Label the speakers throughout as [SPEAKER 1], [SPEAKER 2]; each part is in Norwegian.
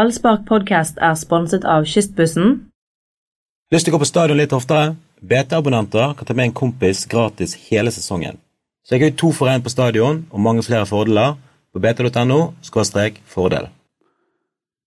[SPEAKER 1] Ballspark podcast er sponset av Kystbussen.
[SPEAKER 2] Lyst til å gå på stadion litt oftere? BT-abonnenter kan ta med en kompis gratis hele sesongen. Så jeg har jo to for én på stadion, og mange flere fordeler på bt.no fordel.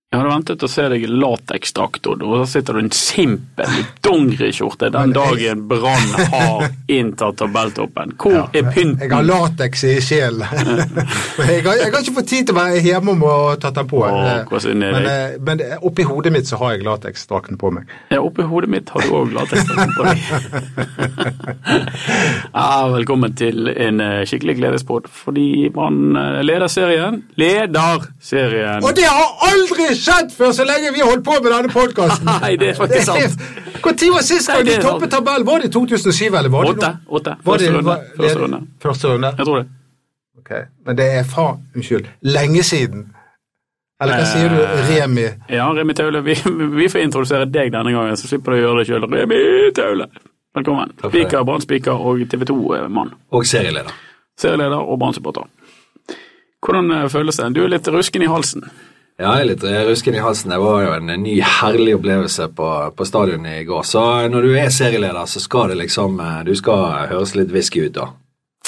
[SPEAKER 3] Jeg hadde ventet å se deg i lateksdrakt, Odd, og så sitter du i en simpel dongeriskjorte den dagen Brann har inntatt tabelltoppen. Hvor er
[SPEAKER 4] Jeg har
[SPEAKER 3] pynten?
[SPEAKER 4] lateks i sjelen. Men jeg, har- jeg har ikke fått tid til å være hjemme om å ta den på.
[SPEAKER 3] Åh,
[SPEAKER 4] Eh,
[SPEAKER 3] hvor synd det er
[SPEAKER 4] men,
[SPEAKER 3] deg.
[SPEAKER 4] eh, men oppi hodet mitt så har jeg lateksdrakten på meg.
[SPEAKER 3] Ja, oppi hodet mitt har du òg lateksdrakt på deg. ja, velkommen til en eh, skikkelig gledespod, fordi Brann eh, leder serien. Leder serien!
[SPEAKER 4] Og det har aldri skjedd før så lenge vi har holdt på med denne podkasten!
[SPEAKER 3] Nei, det er faktisk sant.
[SPEAKER 4] Når var sist gang
[SPEAKER 3] Nei, det
[SPEAKER 4] de
[SPEAKER 3] er sant.
[SPEAKER 4] toppet tabellen? Var det i 2007, eller var det
[SPEAKER 3] Åtte,
[SPEAKER 4] nå?
[SPEAKER 3] åtte.
[SPEAKER 4] Var det-
[SPEAKER 3] Første runde,
[SPEAKER 4] var-
[SPEAKER 3] første
[SPEAKER 4] det-
[SPEAKER 3] runde.
[SPEAKER 4] Første runde.
[SPEAKER 3] Jeg tror det.
[SPEAKER 4] Ok, Men det er faen Unnskyld. Lenge siden. Eller
[SPEAKER 3] Eh.
[SPEAKER 4] hva sier du, Remi?
[SPEAKER 3] Ja, Remi Taule, vi, vi får introdusere deg denne gangen, så slipper du å gjøre det sjøl. Remi Taule, velkommen.
[SPEAKER 5] for det.
[SPEAKER 3] Spiker, Brann-spiker og eh, TV 2-mann.
[SPEAKER 5] Og serieleder.
[SPEAKER 3] Serieleder og Brann-supporter. Hvordan eh, føles det? Du er litt rusken i halsen.
[SPEAKER 5] Ja, jeg er litt rusken i halsen. Det var jo en ny herlig opplevelse på, på stadionet i går. Så eh, når du er serieleder, så skal det liksom eh, Du skal høres litt whisky ut, da.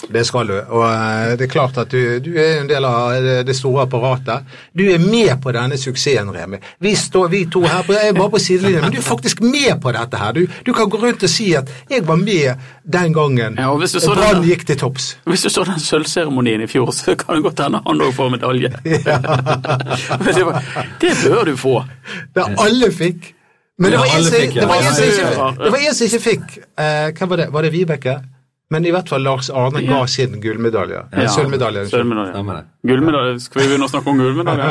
[SPEAKER 4] Det skal du. Og eh, det er klart at du, du er en del av eh, det det store apparatet. Du er med på denne suksessen, Remi. Vi, står, vi to her på, jeg er bare på sidelinjen, men du er faktisk med på dette her. Du, du kan gå rundt og si at 'jeg var med den gangen
[SPEAKER 3] Ja, og hvis du så
[SPEAKER 4] Brann
[SPEAKER 3] den-
[SPEAKER 4] gikk til topps'.
[SPEAKER 3] Hvis du så den sølvseremonien i fjor, så kan det godt hende han òg får medalje. Men det, var, det bør du få.
[SPEAKER 4] Det alle fikk. Men det
[SPEAKER 5] Ja,
[SPEAKER 4] var en
[SPEAKER 5] alle
[SPEAKER 4] som-
[SPEAKER 5] fikk, ja.
[SPEAKER 4] det var en
[SPEAKER 3] Ja,
[SPEAKER 4] som
[SPEAKER 3] ja,
[SPEAKER 4] ikke
[SPEAKER 3] ja.
[SPEAKER 4] det var en som ikke fikk eh, Hvem var det? Var det Vibeke? Men i hvert fall Lars Arne ga sin gullmedalje. Eh, Sølvmedalje. unnskyld.
[SPEAKER 3] Sølvmedalje.
[SPEAKER 5] Stemmer det.
[SPEAKER 3] Gullmedalje. Skal vi begynne å snakke om gullmedalje?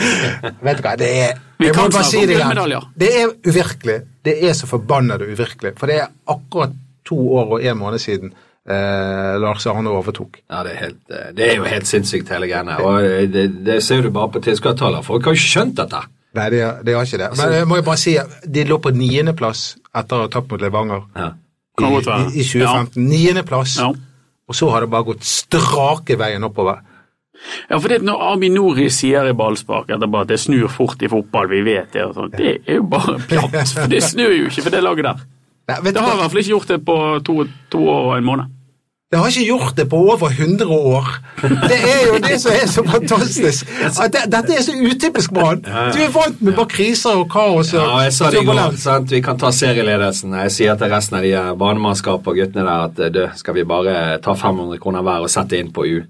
[SPEAKER 4] Vet du hva, det er
[SPEAKER 3] Vi
[SPEAKER 4] jeg
[SPEAKER 3] kan
[SPEAKER 4] må bare
[SPEAKER 3] snakke
[SPEAKER 4] si
[SPEAKER 3] om
[SPEAKER 4] det igjen.
[SPEAKER 3] gullmedaljer.
[SPEAKER 4] Det er uvirkelig. Det er så forbannet uvirkelig. For det er akkurat to år og en måned siden eh, Lars Arne overtok.
[SPEAKER 5] Ja, det er, helt, eh, det er jo helt sinnssykt, hele greiene. Og eh, det, det ser du bare på tilskuertallene. Folk har jo skjønt dette.
[SPEAKER 4] Nei, det, er- det har ikke det. Men jeg må jo bare si at de lå på niendeplass etter å ha tapt mot Levanger
[SPEAKER 5] Ja.
[SPEAKER 4] i,
[SPEAKER 3] Kan godt være.
[SPEAKER 4] i, i 2015. Niendeplass.
[SPEAKER 3] Ja.
[SPEAKER 4] Og så har det bare gått strake veien oppover.
[SPEAKER 3] Ja, for det at når Armin Nori sier i ballspark etterpå at det snur fort i fotball, vi vet det, og sånt, det er jo bare pjatt. For det snur jo ikke for det laget der.
[SPEAKER 4] Nei, vet du
[SPEAKER 3] Det har i
[SPEAKER 4] hva?
[SPEAKER 3] hvert fall ikke gjort det på to, to år og en måned.
[SPEAKER 4] Det har ikke gjort det på over 100 år. Det er jo det som er så fantastisk. At det, dette er så utypisk Brann. Du er vant med bare kriser og kaos.
[SPEAKER 5] Ja, og jeg sa det i går,
[SPEAKER 4] turbulens.
[SPEAKER 5] sant? vi kan ta serieledelsen. Jeg sier til resten av de eh, banemannskapene og guttene der at eh, du, skal vi bare ta 500 kroner hver og sette inn på U?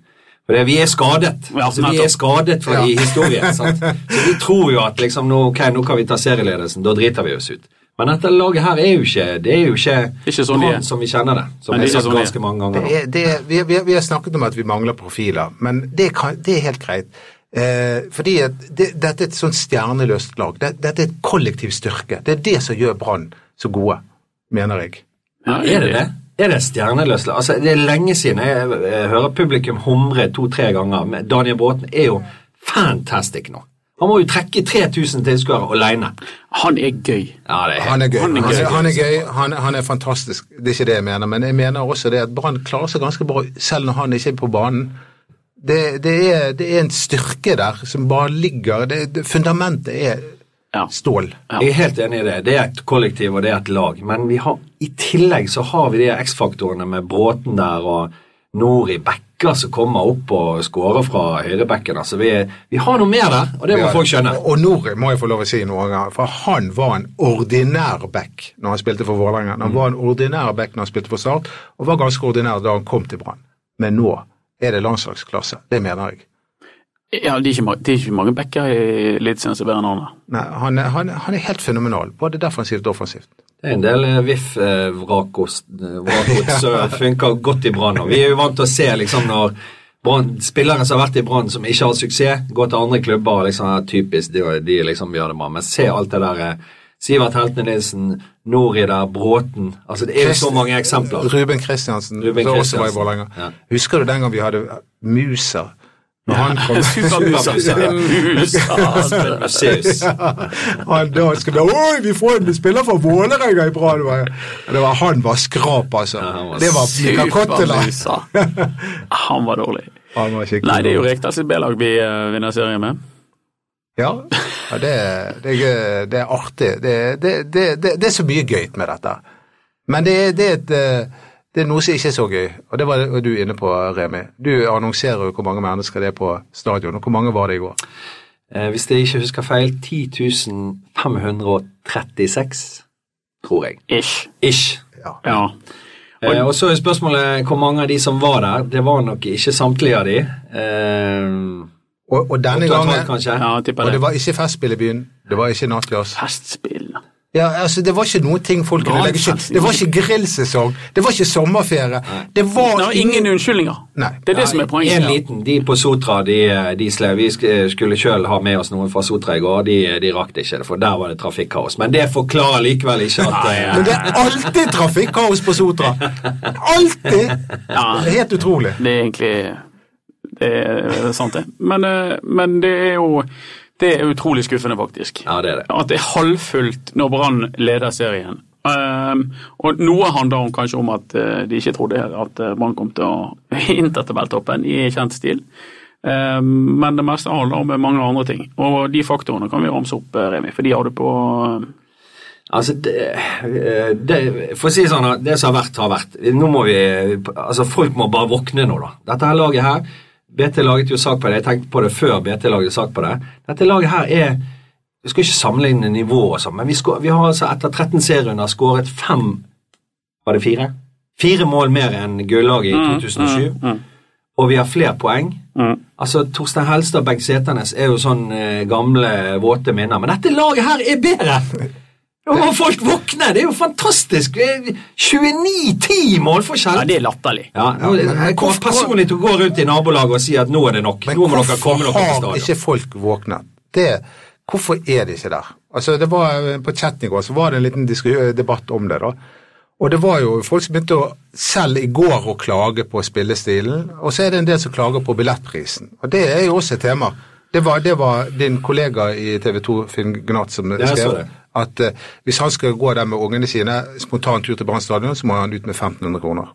[SPEAKER 5] For det, vi er skadet.
[SPEAKER 3] Ja,
[SPEAKER 5] altså, vi
[SPEAKER 3] nettopp.
[SPEAKER 5] er skadet for i historien. sant? Så vi tror jo at liksom, nå, ok, nå kan vi ta serieledelsen, da driter vi oss ut. Men dette laget her er jo ikke Det er jo ikke,
[SPEAKER 3] Ikke sånn de er.
[SPEAKER 5] Brann som vi kjenner det. Som
[SPEAKER 3] Men det er
[SPEAKER 5] jeg har
[SPEAKER 3] ikke
[SPEAKER 5] sagt
[SPEAKER 3] sånn de er.
[SPEAKER 5] ganske mange ganger. nå.
[SPEAKER 4] Det er, det, er- vi, vi, vi har snakket om at vi mangler profiler, men det, kan, det er helt greit. Eh, fordi at det, dette er et sånt stjerneløst lag. Det, dette er et kollektiv styrke. Det er det som gjør Brann så gode, mener jeg.
[SPEAKER 3] Ja,
[SPEAKER 5] Er det det? Er det stjerneløst? Altså, det er lenge siden jeg, jeg hører publikum humre to-tre ganger. Men Daniel Bråten er jo fantastic nå. Han må jo trekke 3000 tilskuere alene.
[SPEAKER 3] Han er gøy.
[SPEAKER 5] Ja, det er
[SPEAKER 4] Han er gøy.
[SPEAKER 3] Han
[SPEAKER 4] Han
[SPEAKER 3] er
[SPEAKER 4] er,
[SPEAKER 3] gøy.
[SPEAKER 4] han er, gøy. Han, han er fantastisk. Det er ikke det jeg mener, men jeg mener også det at Brann klarer seg ganske bra selv når han ikke er på banen. Det, det, er, det er en styrke der som bare ligger det, det, Fundamentet er
[SPEAKER 3] Ja.
[SPEAKER 4] stål.
[SPEAKER 5] Jeg er helt enig i det. Det er et kollektiv, og det er et lag. Men vi har, i tillegg så har vi de X-faktorene med Bråten der og Nori Bekker som kommer opp og scorer fra høyrebekken. Altså, vi, vi har noe mer der, og det må folk skjønne.
[SPEAKER 4] Og, og Nori må jeg få lov å si noe, om, for han var en ordinær back når han spilte for Vålerenga. Han var en ordinær back når han spilte for Start, og var ganske ordinær da han kom til Brann. Men nå er det landslagsklasse. Det mener jeg.
[SPEAKER 3] Ja, det er ikke, ma- det er ikke mange backer i Eliteserien som er bedre enn han. da.
[SPEAKER 4] Nei, han, er- han, er- han er helt fenomenal, både defensivt og offensivt.
[SPEAKER 5] Det er en del eh, VIF-vrakost som funker godt i Brann. og Vi er jo vant til å se liksom når Brann- spillere som har vært i Brann, som ikke har suksess, går til andre klubber og liksom er typisk de, de liksom gjør det bra. Men se alt det der eh, Sivert Heltne-Nilsen, Nori der, Bråten altså Det er jo så mange eksempler.
[SPEAKER 4] Ruben Kristiansen,
[SPEAKER 5] Ruben
[SPEAKER 4] som også var i
[SPEAKER 5] Christiansen.
[SPEAKER 4] Vålerenga.
[SPEAKER 5] Ja.
[SPEAKER 4] Husker du den gang vi hadde Muser? Når han kom
[SPEAKER 3] Supermusa.
[SPEAKER 5] altså,
[SPEAKER 3] Supermusa.
[SPEAKER 5] Museus.
[SPEAKER 4] han da skulle vi Oi, vi får en spiller fra Vålerenga i bra! Det var, det var, han var skrap, altså.
[SPEAKER 5] han var
[SPEAKER 4] det var Mika Kottela.
[SPEAKER 3] Supermusa. Han var dårlig.
[SPEAKER 4] Han var skikkelig
[SPEAKER 3] Nei, det er jo
[SPEAKER 4] dårlig.
[SPEAKER 3] Rekdal sitt B-lag vi eh, vinner serien med.
[SPEAKER 4] Ja, ja det, det, er gøy, det er artig. Det, det, det, det, det er så mye gøy med dette. Men det, er- det, er et, eh, det er noe som ikke er så gøy, og det var det du inne på, Remi. Du annonserer jo hvor mange mennesker det er på stadion, og hvor mange var det i går?
[SPEAKER 5] Eh, hvis jeg ikke husker feil, 10.536, tror jeg.
[SPEAKER 3] Ish.
[SPEAKER 5] Ish.
[SPEAKER 4] Ja.
[SPEAKER 3] Ja.
[SPEAKER 5] Eh, og så er spørsmålet hvor mange av de som var der. Det var nok ikke samtlige av de. Eh,
[SPEAKER 4] Og, og denne
[SPEAKER 5] to og et halvt,
[SPEAKER 4] gangen
[SPEAKER 5] kanskje.
[SPEAKER 3] ja jeg tipper
[SPEAKER 4] Og det
[SPEAKER 3] det.
[SPEAKER 4] var ikke Festspill i byen, det var ikke Nattglass.
[SPEAKER 3] Festspill.
[SPEAKER 4] Ja, altså, det var ikke noen ting folk kunne legge skjul Det var ikke grillsesong, det var ikke sommerferie. Det
[SPEAKER 3] Det
[SPEAKER 4] var
[SPEAKER 3] var ingen unnskyldninger.
[SPEAKER 4] Nei.
[SPEAKER 3] Det er det som er
[SPEAKER 5] En
[SPEAKER 3] poenget.
[SPEAKER 5] liten, De på Sotra de, de sle, Vi sk- eh, skulle sjøl ha med oss noen fra Sotra i går. De, de rakk det ikke, for der var det trafikkaos. Men det forklarer likevel ikke at eh,
[SPEAKER 4] Men det er alltid trafikkaos på Sotra! Alltid! Det er Helt utrolig.
[SPEAKER 3] Det er egentlig det er sant, det. Men, eh, men det er jo det er utrolig skuffende, faktisk.
[SPEAKER 5] Ja, det er det.
[SPEAKER 3] At det er halvfullt når Brann leder serien. Ehm, og noe handler om, kanskje om at eh, de ikke trodde at eh, Brann kom til å hinte til tabelltoppen i kjent stil. Ehm, men det meste handler om mange andre ting. Og de faktorene kan vi ramse opp, eh, Remi, for de har du på eh,
[SPEAKER 5] Altså, det, eh, det, For å si det sånn, at det som har vært, har vært. Nå må vi, altså Folk må bare våkne nå, da. Dette her laget her BT laget jo sak på det. Jeg tenkte på det før BT lagde sak på det. Dette laget her er Vi skal ikke sammenligne nivå og sånn, men vi, skå- vi har altså etter 13 serierunder skåret fem Var det fire? Fire mål mer enn gullaget
[SPEAKER 3] Mm,
[SPEAKER 5] i 2007. Og vi har flere poeng. Altså, Torstein Helstad og Bengt Seternes er jo sånn eh, gamle, våte minner. Men dette laget her er bedre! Nå må folk våkne! Det er jo fantastisk! Det er 29-10
[SPEAKER 3] Ja,
[SPEAKER 5] målforskjell!
[SPEAKER 3] det er latterlig.
[SPEAKER 5] Ja, nå,
[SPEAKER 4] Ja, men-
[SPEAKER 5] jeg kommer personlig til å gå rundt i nabolaget og si at nå er det nok.
[SPEAKER 4] Men
[SPEAKER 5] Nå må dere
[SPEAKER 4] hvorfor
[SPEAKER 5] komme dere på
[SPEAKER 4] har
[SPEAKER 5] stadion.
[SPEAKER 4] ikke folk våknet? Det, hvorfor er de ikke der? Altså, det var, på chatten i går så var det en liten disku- debatt om det. da. Og det var jo folk som begynte å, selv i går å klage på spillestilen, og så er det en del som klager på billettprisen. Og det er jo også et tema. Det var, det var din kollega i TV 2, Finn Gnath, som
[SPEAKER 5] jeg så
[SPEAKER 4] skrev
[SPEAKER 5] det.
[SPEAKER 4] at eh, hvis han skal gå der med ungene sine spontant ut til Brann stadion, så må han ut med 1500 kroner.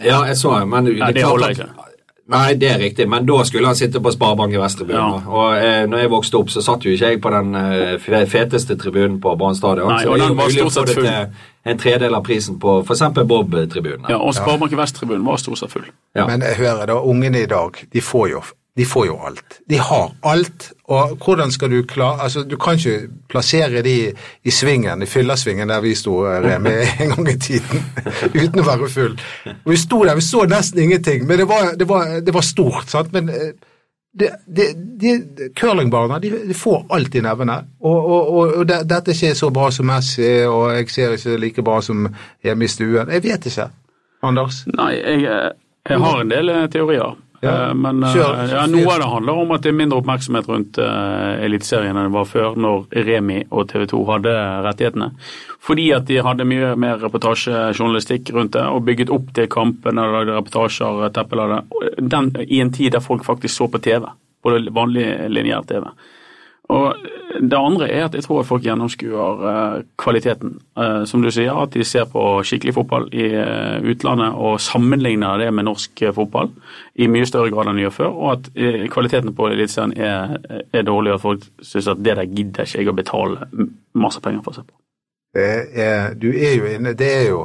[SPEAKER 5] Ja, jeg så det, men det,
[SPEAKER 3] Ja,
[SPEAKER 5] er
[SPEAKER 3] det
[SPEAKER 5] klart
[SPEAKER 3] holder
[SPEAKER 5] at-
[SPEAKER 3] ikke.
[SPEAKER 5] Nei, det er riktig, men da skulle han sitte på Sparebank i Vestrebyen.
[SPEAKER 3] Ja.
[SPEAKER 5] da. Og eh, når jeg vokste opp, så satt jo ikke jeg på den eh, fe- feteste tribunen på Brann stadion.
[SPEAKER 3] Nei,
[SPEAKER 5] så
[SPEAKER 3] og
[SPEAKER 5] det er
[SPEAKER 3] den
[SPEAKER 5] jo
[SPEAKER 3] var
[SPEAKER 5] mulig å
[SPEAKER 3] stort
[SPEAKER 5] få
[SPEAKER 3] sett
[SPEAKER 5] det til En tredel av prisen på f.eks. Bob-tribunen.
[SPEAKER 3] Ja, og Sparebank Vest-tribunen var stort sett full.
[SPEAKER 5] Ja.
[SPEAKER 4] Men jeg hører da, ungene i dag, de får jo, de får jo alt. De har alt, og hvordan skal du klare Altså, du kan ikke plassere de i svingen, i fyllersvingen der vi sto, eh, Remi, en gang i tiden, uten å være full. Og vi sto der, vi så nesten ingenting, men det var, det var, det var stort, sant. Men eh, det, det, de, curlingbarna de, de får alt i nevene. Og, og, og, og det, dette er ikke så bra som Messi, og jeg ser ikke like bra som hjemme i stuen. Jeg vet ikke, Anders.
[SPEAKER 3] Nei, jeg, eh, jeg har en del eh, teorier.
[SPEAKER 4] Ja,
[SPEAKER 3] Eh, Men eh,
[SPEAKER 4] kjør.
[SPEAKER 3] ja, noe av det handler om at det er mindre oppmerksomhet rundt eh, Eliteserien enn det var før, når Remi og TV 2 hadde rettighetene. Fordi at de hadde mye mer reportasjejournalistikk rundt det, og bygget opp til kampene, lagde reportasjer, teppelade, den, i en tid der folk faktisk så på TV. Både vanlig lineær TV. Og det andre er at jeg tror at folk gjennomskuer eh, kvaliteten. Eh, som du sier, at de ser på skikkelig fotball i eh, utlandet og sammenligner det med norsk eh, fotball i mye større grad enn de gjør før, og at eh, kvaliteten på Eliteserien er, er dårlig, og at folk syns at det der gidder ikke jeg å betale m- masse penger for å se på.
[SPEAKER 4] Det er, Eh, du er jo inne Det er jo,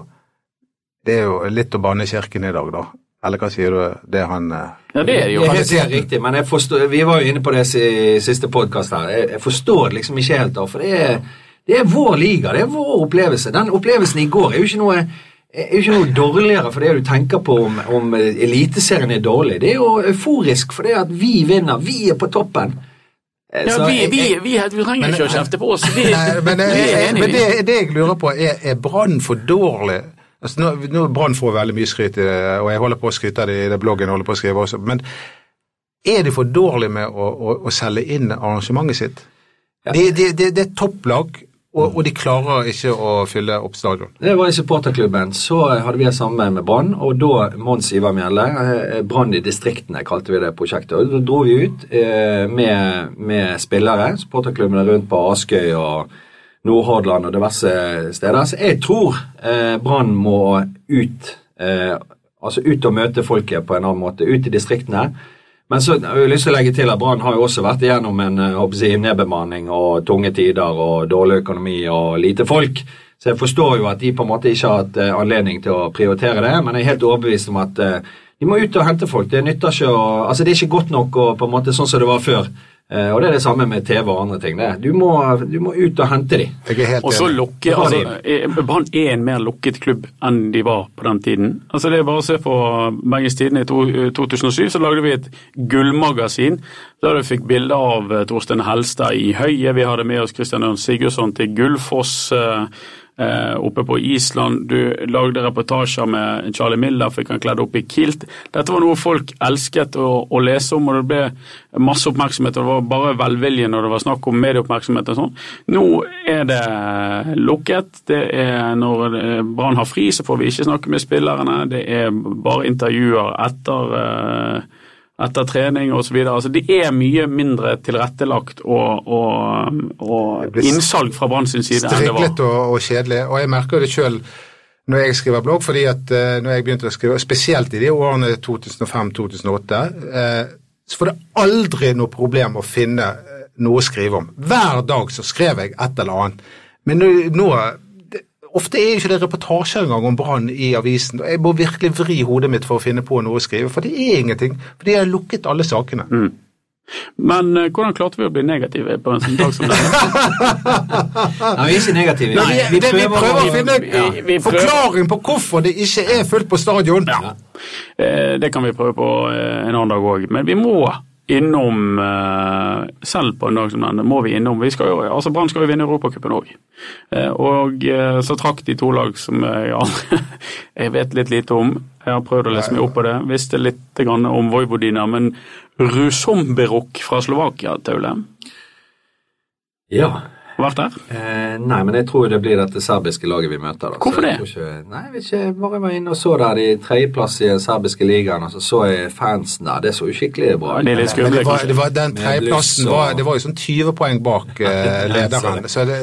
[SPEAKER 4] det er jo litt å banne i kirken i dag, da. Eller hva sier du? Det er han eh,
[SPEAKER 3] Ja, det er det jo.
[SPEAKER 5] Det er helt sikkert riktig, men jeg forstår, vi var jo inne på det i siste podkast her. Jeg, jeg forstår det liksom ikke helt, da, for det er, det er vår liga, det er vår opplevelse. Den opplevelsen i går er jo ikke noe er jo ikke noe dårligere for det du tenker på om, om Eliteserien er dårlig. Det er jo euforisk for det at vi vinner, vi er på toppen. Eh,
[SPEAKER 3] Ja,
[SPEAKER 5] så
[SPEAKER 3] vi,
[SPEAKER 5] jeg-
[SPEAKER 3] vi,
[SPEAKER 5] jeg-
[SPEAKER 3] vi, vi trenger ikke å kjefte på oss. Vi,
[SPEAKER 4] Nei, men,
[SPEAKER 3] vi
[SPEAKER 4] eh,
[SPEAKER 3] er
[SPEAKER 4] eh, men
[SPEAKER 3] enige.
[SPEAKER 4] det, det jeg lurer på, er, er Brann for dårlig? Altså, nå, nå Brann får veldig mye skryt, i det, og jeg holder på å skryte av det i det bloggen jeg holder på å skrive også, men er de for dårlige med å, å, å selge inn arrangementet sitt?
[SPEAKER 5] Ja.
[SPEAKER 4] Det de, de, det er topplag, og, og de klarer ikke å fylle opp stadion.
[SPEAKER 5] Det var i supporterklubben. Så hadde vi et samarbeid med Brann, og da Mons Ivar Mjelde eh, Brann i distriktene kalte vi det prosjektet. Og Da dro vi ut eh, med, med spillere, supporterklubbene rundt på Askøy og Nordhordland og diverse steder. Så jeg tror eh, Brann må ut, eh, altså ut og møte folket på en annen måte. Ut i distriktene. Men så har jeg lyst til å legge til at Brann har jo også vært igjennom en eh, håper jeg å si, nedbemanning og tunge tider og dårlig økonomi og lite folk. Så jeg forstår jo at de på en måte ikke har hatt eh, anledning til å prioritere det, men jeg er helt overbevist om at eh, de må ut og hente folk. Det nytter ikke å Altså, det er ikke godt nok å på en måte sånn som det var før. Eh, Og det er det samme med TV og andre ting. Det. Du, må, du må ut og hente de.
[SPEAKER 4] Jeg er helt
[SPEAKER 3] Og så
[SPEAKER 4] enig.
[SPEAKER 3] lukke,
[SPEAKER 5] Brann
[SPEAKER 3] altså, eh, Brann er en mer lukket klubb enn de var på den tiden. Altså Det er bare å se på Bergens Tidende i to- eh, 2007, så lagde vi et gullmagasin der du fikk bilder av eh, Torstein Helstad i høyet. Vi hadde med oss Christian Ørn Sigurdsson til Gullfoss. eh, eh, Oppe på Island, du lagde reportasjer med Charlie Miller, fikk han kledd opp i kilt. Dette var noe folk elsket å, å lese om, og det ble masse oppmerksomhet. og Det var bare velvilje når det var snakk om medieoppmerksomhet og sånn. Nå er det lukket. Det er når eh, Brann har fri, så får vi ikke snakke med spillerne. Det er bare intervjuer etter, eh, etter trening osv. Altså, det er mye mindre tilrettelagt og, og, og
[SPEAKER 4] blir
[SPEAKER 3] innsalg fra Brann sin side enn det var.
[SPEAKER 4] Striklet og, og kjedelig. Og jeg merker det sjøl når jeg skriver blogg, fordi at eh, når jeg begynte å skrive, spesielt i de årene 2005-2008, eh, så var det aldri noe problem å finne eh, noe å skrive om. Hver dag så skrev jeg et eller annet. Men nå, nå det, Ofte er jo ikke det reportasjer engang om brann i avisen. og Jeg må virkelig vri hodet mitt for å finne på noe å skrive, for det er ingenting. For de har lukket alle sakene.
[SPEAKER 3] Men eh, hvordan klarte vi å bli negative på en sånn dag som denne?
[SPEAKER 5] Nei, vi er ikke negative.
[SPEAKER 4] Nei, vi, det, vi prøver å finne
[SPEAKER 3] vi- vi prøver-
[SPEAKER 4] forklaring på hvorfor det ikke er fullt på stadion.
[SPEAKER 3] Eh, Det kan vi prøve på eh, en annen dag òg, men vi må innom eh, Selv på en dag som denne må vi innom. Vi skal jo, altså Brann skal jo vinne Europacupen òg. Og eh, så trakk de to lag som jeg, aldri- jeg vet litt lite om. Jeg har prøvd å lese meg opp på det. Visste litt grann om Vojvodina, men Rusomberok fra Slovakia, Taule.
[SPEAKER 5] Ja.
[SPEAKER 3] Vært der?
[SPEAKER 5] Eh, nei, men jeg tror det blir dette serbiske laget vi møter. Da. Så
[SPEAKER 3] Hvorfor det?
[SPEAKER 5] jeg tror Ikke, nei, jeg vet ikke. Jeg bare var inne og så der de tredjeplass i den serbiske ligaen, og så så jeg fansen der. Det så jo skikkelig bra
[SPEAKER 3] Det er litt
[SPEAKER 4] Men
[SPEAKER 3] skumle,
[SPEAKER 4] det var,
[SPEAKER 3] kanskje.
[SPEAKER 4] det var, den
[SPEAKER 5] Med
[SPEAKER 4] tredjeplassen
[SPEAKER 5] bluss og-
[SPEAKER 4] var, det var jo sånn 20 poeng bak eh, lederen. Så det,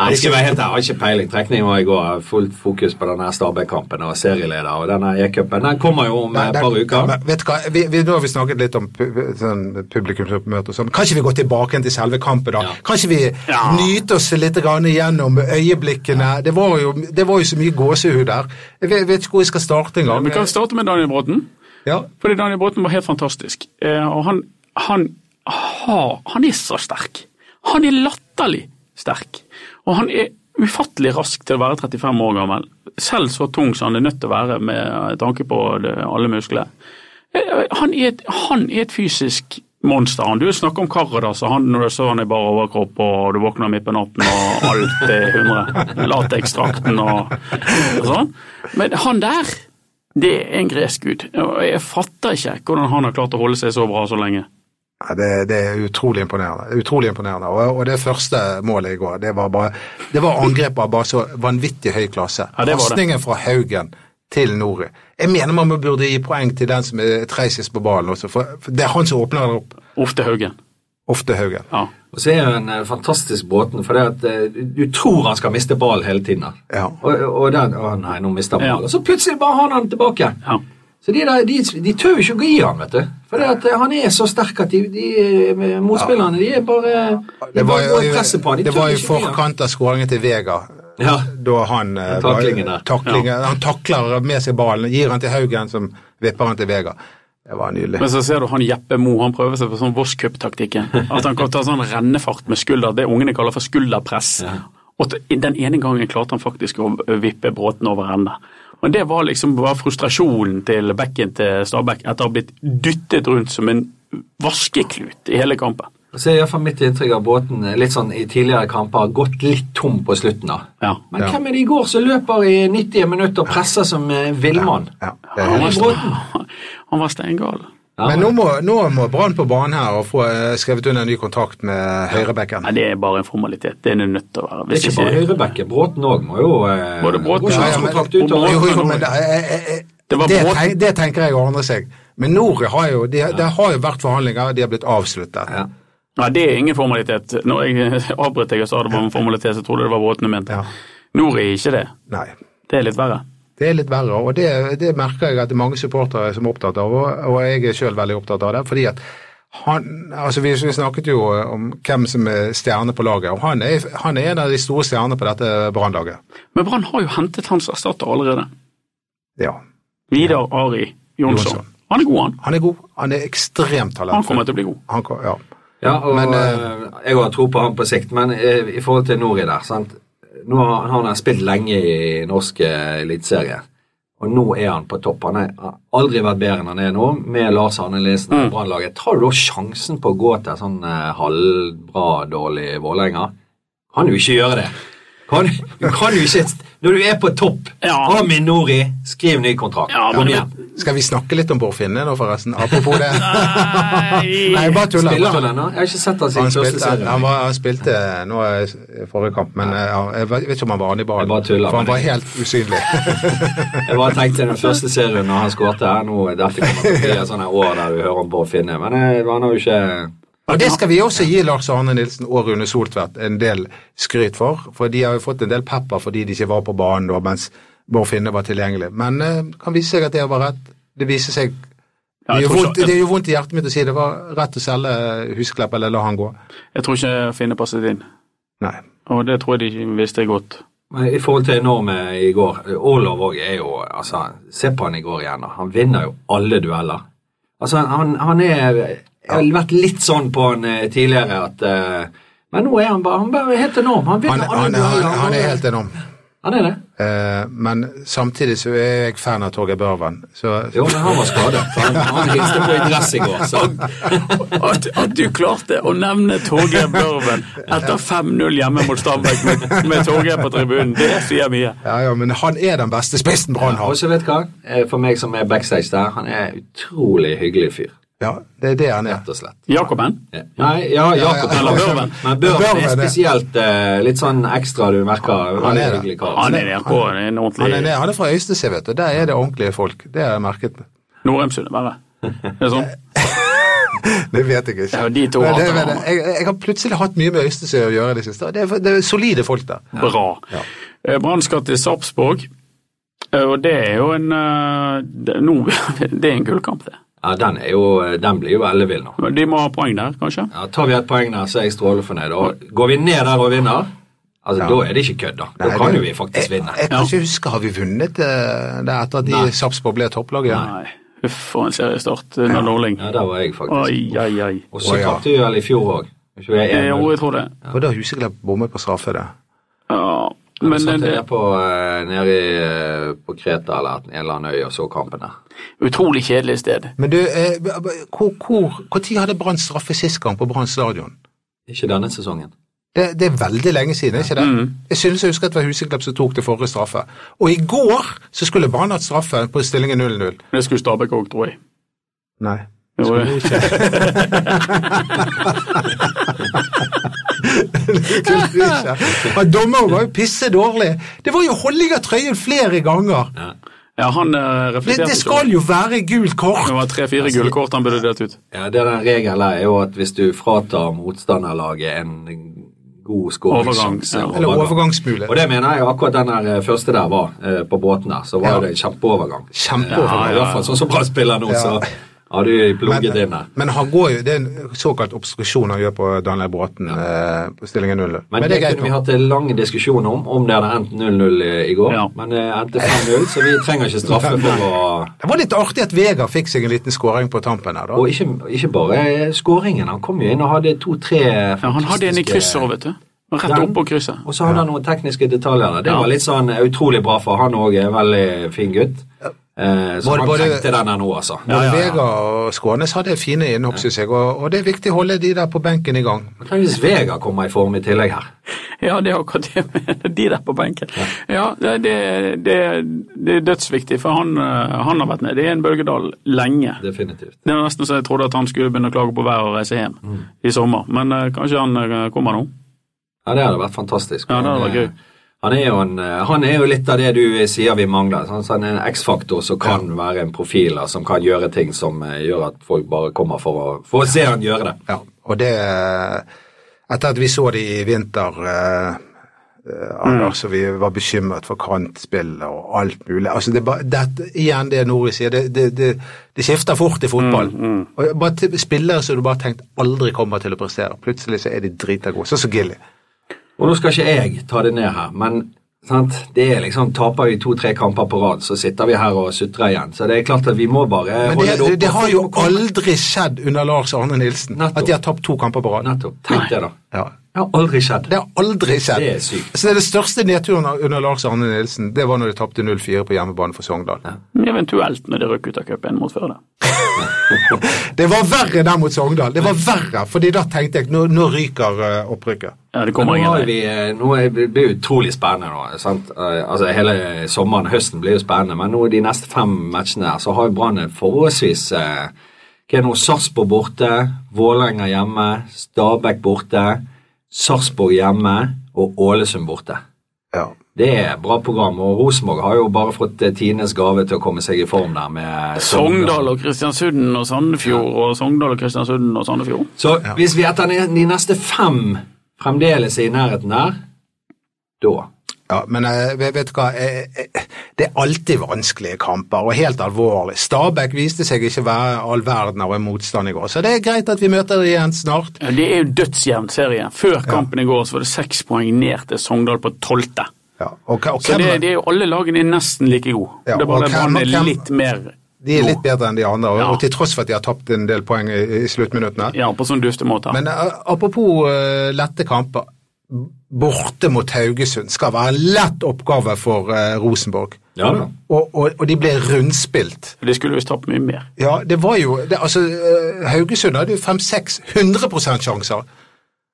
[SPEAKER 5] Nei, jeg skal være helt ærlig, jeg har ikke peiling. Trekningen var i går. Jeg har Fullt fokus på denne Stabæk-kampen og serieleder. Og denne E-cupen den kommer jo om eh,
[SPEAKER 4] Nei,
[SPEAKER 5] et
[SPEAKER 4] det-
[SPEAKER 5] par uker.
[SPEAKER 4] Men vet du hva, vi, vi, nå har vi snakket litt om pu, pu- sånn publikumsoppmøte og sånn. Kanskje vi går tilbake igjen til selve kampen, da.
[SPEAKER 5] Ja.
[SPEAKER 4] Kanskje vi
[SPEAKER 3] Ja.
[SPEAKER 4] nyter oss litt grann gjennom øyeblikkene. Det, var jo, det var jo så mye gåsehud der. Jeg vet, vet ikke hvor jeg skal starte engang.
[SPEAKER 3] Vi kan starte med Daniel Bråten.
[SPEAKER 4] Ja.
[SPEAKER 3] Fordi Daniel Bråten var helt fantastisk. Eh, og han, han, har, han er så sterk. Han er latterlig sterk. Og han er ufattelig rask til å være 35 år gammel. Selv så tung som han er nødt til å være med tanke på det, alle musklene. Eh, Han er, et, han er et fysisk monster. han. Du snakker om Karadas, og han når du så han i bar overkropp, og du våkner midt på natten, og alt er 100. Latekstrakten og, og sånn. Men han der, det er en gresk gud. Og Jeg fatter ikke hvordan han har klart å holde seg så bra så lenge.
[SPEAKER 4] Ja, det, det er utrolig imponerende. Det er Utrolig imponerende. Og, og det første målet i går, det var, bare, det var angrep av bare så vanvittig høy klasse.
[SPEAKER 3] Ja, det var det.
[SPEAKER 4] Pasningen fra Haugen til Nori. Jeg mener man burde gi poeng til den som er treisest på ballen også, for, for det er han som åpner det opp.
[SPEAKER 3] Ofte Haugen.
[SPEAKER 4] Ofte Haugen.
[SPEAKER 3] Ja.
[SPEAKER 5] Og så er jo en eh, fantastisk Bråten, for det at eh, du- du tror han skal miste ballen hele tiden. da.
[SPEAKER 4] Ja.
[SPEAKER 5] Og, og den, å nei, nå mister han
[SPEAKER 3] Ja.
[SPEAKER 5] ballen. Og så plutselig bare har han den tilbake.
[SPEAKER 3] ja.
[SPEAKER 5] Så de, der, de, de tør jo ikke å gå i han, vet du. For det at eh, han er så sterk at de, de eh, motspillerne de er bare De
[SPEAKER 4] Det var
[SPEAKER 5] bare
[SPEAKER 4] jo,
[SPEAKER 5] går og presser på han. De
[SPEAKER 4] det
[SPEAKER 5] tør
[SPEAKER 4] var jo i
[SPEAKER 5] ikke å gi han.
[SPEAKER 4] forkant av skåringen til Vega.
[SPEAKER 5] Ja.
[SPEAKER 4] Da han, eh,
[SPEAKER 5] Den taklingen der.
[SPEAKER 4] taklingen- han takler med seg ballen, gir han til Haugen, som vipper han til Vega. Det var nydelig.
[SPEAKER 3] Men så ser du han Jeppe Mo, han prøver seg på sånn Voss Cup-taktikken. At han kan ta sånn rennefart med skulder, det ungene kaller for skulderpress. Og t- den ene gangen klarte han faktisk å vippe Bråten over ende. Men det var liksom bare frustrasjonen til bekken til Stabæk etter å ha blitt dyttet rundt som en vaskeklut i hele kampen.
[SPEAKER 5] Så er i hvert fall mitt inntrykk av båten eh, litt sånn i tidligere kamper har gått litt tom på slutten. da.
[SPEAKER 3] Ja.
[SPEAKER 5] Men hvem er det i går som løper i 90 minutter og presser som eh, villmann?
[SPEAKER 4] Ja, det er
[SPEAKER 5] Han
[SPEAKER 4] helt
[SPEAKER 5] er Bråten.
[SPEAKER 3] Han var steingal.
[SPEAKER 5] Ja,
[SPEAKER 4] Men nå må, nå må Brann på banen her og få eh, skrevet under en ny kontrakt med høyrebekken.
[SPEAKER 3] Nei, det er bare en formalitet. Det er det nødt til å være.
[SPEAKER 5] Det er
[SPEAKER 3] Hvis
[SPEAKER 5] ikke bare
[SPEAKER 3] ikke,
[SPEAKER 5] høyrebekken. Båten òg må jo eh,
[SPEAKER 3] Både Bråten
[SPEAKER 5] gå
[SPEAKER 3] og- og
[SPEAKER 5] kontrakt ut.
[SPEAKER 3] Bråten-
[SPEAKER 5] Og,
[SPEAKER 4] Jo, jo, men det, eh, eh, eh,
[SPEAKER 3] Det var
[SPEAKER 4] det,
[SPEAKER 3] Bråten.
[SPEAKER 4] tenk, det tenker jeg ordner seg. Men Nore har jo, de, det har jo vært forhandlinger, de har blitt avsluttet.
[SPEAKER 5] ja.
[SPEAKER 3] nei, det er ingen formalitet. Når jeg avbrøt deg og sa det var en formalitet, så trodde jeg det var Bråten du mente.
[SPEAKER 4] Ja.
[SPEAKER 3] Nord er ikke det.
[SPEAKER 4] Nei,
[SPEAKER 3] Det er litt verre.
[SPEAKER 4] det Det er litt verre, og det, det merker jeg at det er mange supportere som er opptatt av, og, og jeg er sjøl veldig opptatt av det. fordi at han, altså vi, vi snakket jo eh, om hvem som er stjerne på laget, og han er, han er en av de store stjernene på dette Brann-laget.
[SPEAKER 3] Men Brann har jo hentet hans erstatter allerede.
[SPEAKER 4] Ja.
[SPEAKER 3] Vidar Ari Jonsson.
[SPEAKER 4] Jonsson.
[SPEAKER 3] Han er god, han.
[SPEAKER 4] Han er god, han er ekstremt
[SPEAKER 3] Han kommer
[SPEAKER 4] talentfull.
[SPEAKER 3] til å bli god.
[SPEAKER 4] Han kom, ja.
[SPEAKER 5] Ja, og
[SPEAKER 4] Men,
[SPEAKER 5] eh, jeg har tro på han på sikt, men eh, i forhold til Nori der sant? Nå har han har spilt lenge i norsk eh, eliteserie, og nå er han på topp. Han er- har aldri vært bedre enn han er nå, med Lars Arne Lesen og
[SPEAKER 3] Mm.
[SPEAKER 5] Brannlaget. Tar du da sjansen på å gå til sånn eh, halvbra, dårlig Vålerenga? Kan du ikke gjøre det? Kan, du kan jo ikke Når du er på topp,
[SPEAKER 3] Ja.
[SPEAKER 5] av med Nori, skriv ny kontrakt.
[SPEAKER 3] Ja, men
[SPEAKER 5] Kom
[SPEAKER 3] du-
[SPEAKER 5] igjen.
[SPEAKER 4] Skal vi snakke litt om Bård Finne nå, forresten? Apropos det.
[SPEAKER 3] Nei.
[SPEAKER 4] Nei, bare tuller.
[SPEAKER 5] Spiller
[SPEAKER 4] bare
[SPEAKER 5] han
[SPEAKER 4] tuller.
[SPEAKER 5] ennå? Jeg har ikke sett han
[SPEAKER 4] Han
[SPEAKER 5] siden første
[SPEAKER 4] spilte,
[SPEAKER 5] serie.
[SPEAKER 4] han, var, han spilte nå i forrige kamp, men eh, han- jeg vet ikke om han var han i ballen.
[SPEAKER 5] Jeg bare tuller,
[SPEAKER 4] For han
[SPEAKER 5] men-
[SPEAKER 4] var helt usynlig.
[SPEAKER 5] Jeg bare tenkte den første serien når han skåret her nå, Dette kommer til å bli et sånt her år der du hører om Bård Finne, men eh, han har jo ikke
[SPEAKER 4] Og Det skal vi også gi Lars Arne Nilsen og Rune Soltvedt en del skryt for. For de har jo fått en del pepper fordi de ikke var på banen da, mens Bård Finne var tilgjengelig. Men eh, kan vise seg at det var rett. Det viser seg
[SPEAKER 3] Ja, jeg
[SPEAKER 4] det gjør,
[SPEAKER 3] tror
[SPEAKER 4] vondt,
[SPEAKER 3] ikke-
[SPEAKER 4] det gjør vondt i hjertet mitt å si det var rett å selge Husklepp eller la han gå.
[SPEAKER 3] Jeg tror ikke Finne passet inn.
[SPEAKER 4] Nei.
[SPEAKER 3] Og det tror jeg de ikke visste godt.
[SPEAKER 5] Men I forhold til enorme i går, Olav òg er jo altså, Se på han i går igjen. da. Han vinner jo alle dueller. Altså, han, han er Jeg har vært litt sånn på han eh, tidligere at eh, Men nå er han bare, han bare helt enorm. Han
[SPEAKER 4] Han,
[SPEAKER 5] vinner
[SPEAKER 4] han,
[SPEAKER 5] alle
[SPEAKER 4] han,
[SPEAKER 5] dueller.
[SPEAKER 4] han er helt enorm.
[SPEAKER 5] Han er det.
[SPEAKER 4] Eh, men samtidig så er jeg fan av Torgeir Børven. Så
[SPEAKER 5] Jo, men han var skadet. Han, han hilste på i dress i går, så
[SPEAKER 3] At, at du klarte å nevne Torgeir Børven etter 5-0 hjemme mot Stabæk med, med Torgeir på tribunen, det sier mye.
[SPEAKER 4] Ja, ja, men han er den beste spissen Brann
[SPEAKER 5] Og
[SPEAKER 4] har.
[SPEAKER 5] så vet du hva? Eh, For meg som er backstage der, han er utrolig hyggelig fyr.
[SPEAKER 4] Ja, det er det han er.
[SPEAKER 5] rett og slett.
[SPEAKER 3] Jakoben?
[SPEAKER 5] Ja. Nei, ja, Jakob
[SPEAKER 4] ja, ja.
[SPEAKER 5] eller Børven. Men Børven
[SPEAKER 4] Børven
[SPEAKER 5] er
[SPEAKER 4] er det.
[SPEAKER 5] spesielt eh, litt sånn ekstra, du merker.
[SPEAKER 4] Han
[SPEAKER 5] Veldig
[SPEAKER 4] er det.
[SPEAKER 5] hyggelig kar.
[SPEAKER 3] Han er der på en
[SPEAKER 4] Han er,
[SPEAKER 3] ordentlig
[SPEAKER 4] det. han er fra Øystese, vet du. Der er det ordentlige folk. Det har jeg merket.
[SPEAKER 3] Norheimsund, bare. Er det sånn?
[SPEAKER 4] Det vet jeg ikke.
[SPEAKER 3] Ja, de to
[SPEAKER 4] Men det,
[SPEAKER 3] hater
[SPEAKER 4] vet jeg.
[SPEAKER 3] hverandre.
[SPEAKER 4] Jeg, jeg har plutselig hatt mye med Øystese å gjøre i det siste. og Det er, det er solide folk der.
[SPEAKER 3] Bra. Eh, Brann skal til Sarpsborg, eh, og det er jo en eh, det, nå, det er en gullkamp, det.
[SPEAKER 5] Ja, den, er jo, eh, den blir jo ellevill nå.
[SPEAKER 3] Men De må ha poeng der, kanskje?
[SPEAKER 5] Ja, tar vi et poeng der, så er jeg strålefornøyd. Og går vi ned der og vinner, altså, da er det ikke kødd, da. Da
[SPEAKER 4] Nei,
[SPEAKER 5] kan
[SPEAKER 4] det- Eh,
[SPEAKER 5] jo vi faktisk vinne.
[SPEAKER 4] Jeg kan ikke huske, har vi vunnet eh, det etter at de Sarpsborg ble topplag igjen?
[SPEAKER 3] Nei. Huff, for en seriestart under Norling.
[SPEAKER 5] Ja, der var jeg faktisk.
[SPEAKER 3] Oi, oi, oi.
[SPEAKER 4] Å,
[SPEAKER 5] Og så
[SPEAKER 4] ja.
[SPEAKER 5] tapte vi vel i fjor òg.
[SPEAKER 3] Eh, Jo, jeg tror det.
[SPEAKER 4] Og da har Huseklepp bommet på straffe, det.
[SPEAKER 3] Ja,
[SPEAKER 5] Men,
[SPEAKER 3] men
[SPEAKER 5] satt
[SPEAKER 3] det,
[SPEAKER 5] jeg nede på, eh, nede i, eh, på Kreta eller en eller annen øy og så kampen der.
[SPEAKER 3] utrolig kjedelig sted.
[SPEAKER 4] Men du, eh, hvor, hvor, hvor tid hadde Brann straffe sist gang på Brann stadion?
[SPEAKER 5] Ikke denne sesongen.
[SPEAKER 4] Det, det er veldig lenge siden, er ikke det?
[SPEAKER 5] Mm.
[SPEAKER 3] Mm.
[SPEAKER 4] Jeg synes jeg husker at det var Huseklepp som tok det forrige straffe. Og i går så skulle Brann hatt straffe på stillingen 0-0.
[SPEAKER 3] Det skulle Stabæk òg, tror jeg.
[SPEAKER 4] Nei.
[SPEAKER 3] Jo, eh,
[SPEAKER 4] Men dommeren var jo pisse dårlig. Det var jo holdning av trøyen flere ganger.
[SPEAKER 3] Ja, han eh,
[SPEAKER 4] Det,
[SPEAKER 3] reflekterte
[SPEAKER 4] det
[SPEAKER 3] ikke
[SPEAKER 4] skal
[SPEAKER 3] over det.
[SPEAKER 4] jo være gult
[SPEAKER 3] Det
[SPEAKER 4] kort.
[SPEAKER 3] var tre-fire gule kort han burde delt ut.
[SPEAKER 5] Ja, det den regelen er jo at hvis du fratar motstanderlaget en god skåringssjanse
[SPEAKER 3] Overgang, ja.
[SPEAKER 4] Eller
[SPEAKER 5] Og
[SPEAKER 4] overgangsmulighet.
[SPEAKER 5] det mener jeg jo akkurat den her eh, første der var, eh, på båten der, så var
[SPEAKER 4] Ja.
[SPEAKER 5] det en kjempeovergang.
[SPEAKER 4] Kjempeovergang.
[SPEAKER 5] Ja, I hvert fall sånn som bra spiller nå,
[SPEAKER 4] Ja.
[SPEAKER 5] så har du plugget inn der.
[SPEAKER 4] Men han går jo, det er en såkalt obstruksjon han gjør på Daniel Bråten eh, på stillingen 0-0.
[SPEAKER 5] Men det kunne vi hatt en lang diskusjon om, om det hadde endt 0-0 i- i går.
[SPEAKER 3] Ja.
[SPEAKER 5] Men det endte 5-0, så vi trenger ikke straffe for å
[SPEAKER 4] Det var litt artig at Vegard fikk seg en liten skåring på tampen her, da.
[SPEAKER 5] Og ikke, ikke bare skåringen, han kom jo inn og hadde to-tre
[SPEAKER 3] Ja, han hadde en i krysset òg, vet du. Han Rett
[SPEAKER 5] Den-
[SPEAKER 3] opp på krysset.
[SPEAKER 5] Og så hadde han noen tekniske detaljer der. Det
[SPEAKER 3] Ja.
[SPEAKER 5] var litt sånn eh, utrolig bra, for han òg er en veldig fin gutt. Eh, så
[SPEAKER 4] Både-
[SPEAKER 5] han
[SPEAKER 4] både-
[SPEAKER 5] trengte den her nå, altså.
[SPEAKER 4] Både Vegard og Skånes hadde fine innhopp, synes jeg, og, og det er viktig å holde de der på benken i gang.
[SPEAKER 5] Men Tenk hvis Vegard kommer i form i tillegg her.
[SPEAKER 3] Ja, det er akkurat det med de der på benken. Ja, det, det, det, det er dødsviktig, for han, eh, han har vært nede i en bølgedal lenge.
[SPEAKER 5] Definitivt.
[SPEAKER 3] Det var nesten så jeg trodde at han skulle begynne å klage på været og reise hjem
[SPEAKER 5] Mm.
[SPEAKER 3] i sommer, men eh, kanskje han eh, kommer nå.
[SPEAKER 5] Ja, det hadde vært fantastisk.
[SPEAKER 3] Ja, det hadde vært
[SPEAKER 5] Men, eh, Han er, jo en, eh, han er jo litt av det du eh, sier vi mangler. sant? Så han er sånn en X-faktor som kan være en profil, og som kan gjøre ting som eh, gjør at folk bare kommer for å, for å se han gjøre det.
[SPEAKER 4] Ja, og det Etter at vi så de i vinter eh, Eh,
[SPEAKER 5] Mm.
[SPEAKER 4] Anders, og vi var bekymret for kantspill og alt mulig. Altså, det, er bare- dette, igjen det Nori sier, det, det, det, det skifter fort i fotball.
[SPEAKER 5] Mm,
[SPEAKER 4] Og bare til Spillere som du bare tenkte aldri kommer til å prestere, plutselig så er de drita gode. Sånn som Gilly.
[SPEAKER 5] Og nå skal ikke jeg ta det ned her, men sant? det er liksom, taper vi to-tre kamper på rad, så sitter vi her og sutrer igjen. Så det er klart at vi må bare
[SPEAKER 4] Men
[SPEAKER 5] holde
[SPEAKER 4] det,
[SPEAKER 5] det oppe.
[SPEAKER 4] det, det har jo aldri skjedd under Lars Arne Nilsen
[SPEAKER 5] Nettopp.
[SPEAKER 4] at de har tapt to kamper på rad.
[SPEAKER 5] Nettopp. Tenk det, da.
[SPEAKER 4] Ja.
[SPEAKER 5] Det har aldri skjedd.
[SPEAKER 4] Det har aldri skjedd.
[SPEAKER 5] Det er sykt.
[SPEAKER 4] Så det er det største nedturen under Lars Arne Nilsen, det var når de tapte 0-4 på hjemmebane for Sogndal.
[SPEAKER 3] Eventuelt når de røk ut av cupen mot Førde.
[SPEAKER 4] Det var verre der mot Sogndal. Det var verre, fordi da tenkte jeg nå, nå ryker eh, opprykket.
[SPEAKER 3] Ja, det
[SPEAKER 5] Men
[SPEAKER 3] kommer
[SPEAKER 5] nå
[SPEAKER 3] ingen
[SPEAKER 5] har
[SPEAKER 3] vei.
[SPEAKER 5] vi, eh, nå er, det blir utrolig spennende nå. Sant? Eh, Altså, hele sommeren høsten blir jo spennende, men nå de neste fem matchene her, så har jo Brann en forholdsvis eh, hva er det nå, Sarpsborg borte, Vålerenga hjemme, Stabæk borte, Sarpsborg hjemme og Ålesund borte.
[SPEAKER 4] Ja.
[SPEAKER 5] Det er bra program, og Rosenborg har jo bare fått eh, tidenes gave til å komme seg i form der med
[SPEAKER 3] Sogndal og Kristiansund og Sandefjord og Sogndal og Kristiansund og Sandefjord.
[SPEAKER 5] Så hvis vi etter ne- de neste fem fremdeles er i nærheten der, da
[SPEAKER 4] Ja, men eh, vet vet du hva, eh, eh, det er alltid vanskelige kamper, og helt alvorlig. Stabæk viste seg ikke være all verden av en motstand i går, så det er greit at vi møter dem igjen snart.
[SPEAKER 3] Ja, Det er jo dødsjevn serie. Før kampen i går så var det seks poeng ned til Sogndal på tolvte.
[SPEAKER 4] Ja, og, og
[SPEAKER 3] Så
[SPEAKER 4] hvem,
[SPEAKER 3] det, det er jo alle lagene er nesten like gode.
[SPEAKER 4] Ja,
[SPEAKER 3] det er bare
[SPEAKER 4] og
[SPEAKER 3] det
[SPEAKER 4] hvem-
[SPEAKER 3] Brann er
[SPEAKER 4] hvem-
[SPEAKER 3] litt mer
[SPEAKER 4] de er
[SPEAKER 3] nå.
[SPEAKER 4] litt bedre enn de andre, og,
[SPEAKER 3] Ja.
[SPEAKER 4] og til tross for at de har tapt en del poeng i, i sluttminuttene.
[SPEAKER 3] Ja, på sånn duftemåter.
[SPEAKER 4] Men eh, apropos eh, lette kamper. Borte mot Haugesund skal være en lett oppgave for eh, Rosenborg.
[SPEAKER 5] Ja da.
[SPEAKER 4] Og, og, og de ble rundspilt.
[SPEAKER 3] De skulle visst tapt mye mer.
[SPEAKER 4] Ja, det var jo det, Altså, eh, Haugesund hadde jo 5-600 sjanser.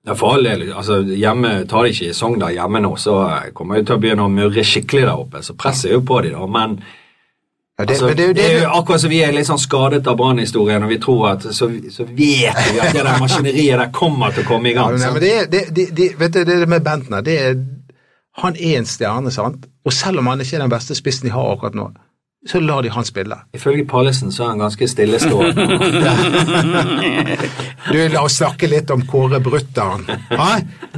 [SPEAKER 5] Ja, for all del. altså hjemme, Tar de ikke i Sogndal hjemme nå, så eh, kommer de til å begynne å murre skikkelig der oppe. Så presset er jo på de da, men
[SPEAKER 4] Ja, det,
[SPEAKER 5] altså,
[SPEAKER 4] men det, er jo det,
[SPEAKER 5] akkurat som vi er litt sånn skadet av Brann-historien, og vi tror at så, så vet vi at det der maskineriet der kommer til å komme i
[SPEAKER 4] ja,
[SPEAKER 5] gang.
[SPEAKER 4] nei, men
[SPEAKER 5] sant?
[SPEAKER 4] det, er- det, det, det, vet du, det er det med Bentner det er, Han er en stjerne, sant? Og selv om han ikke er den beste spissen de har akkurat nå, så lar de han spille.
[SPEAKER 5] Ifølge Pallesen så er han ganske stillestående.
[SPEAKER 4] Du, La oss snakke litt om Kåre Brutter'n. Hæ?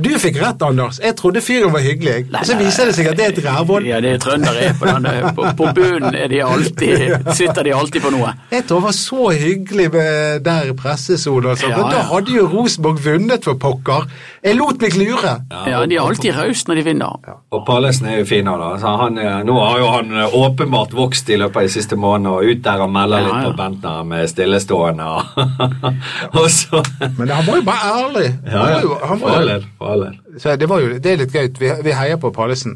[SPEAKER 4] Du fikk rett, Anders. Jeg trodde fyren var hyggelig, jeg. og så viser det seg at det er et rævhål.
[SPEAKER 3] Ja, det er trøndere er på denne. På, på bunnen er de alltid, sitter de alltid på noe.
[SPEAKER 4] Jeg tror han var så hyggelig med der i pressesonen. Altså.
[SPEAKER 3] Ja,
[SPEAKER 4] Men da
[SPEAKER 3] ja.
[SPEAKER 4] hadde jo Rosenborg vunnet, for pokker. Jeg lot meg lure.
[SPEAKER 3] Ja, De er alltid rause når de vinner.
[SPEAKER 5] Og Pallesen er jo fin nå, da. Så han, eh, nå har jo han eh, åpenbart vokst i løpet av de siste månedene, og ut der og melder
[SPEAKER 3] Ja,
[SPEAKER 5] litt
[SPEAKER 3] ja.
[SPEAKER 5] på Bentner med stillestående og, og så
[SPEAKER 4] Men han var jo bare ærlig.
[SPEAKER 5] Ja,
[SPEAKER 4] Han var jo,
[SPEAKER 5] ja.
[SPEAKER 4] han
[SPEAKER 5] For
[SPEAKER 4] var
[SPEAKER 5] all
[SPEAKER 4] jo,
[SPEAKER 5] del. For all del.
[SPEAKER 4] så det, var jo, det er litt gøy. Vi, vi heier på Pallesen.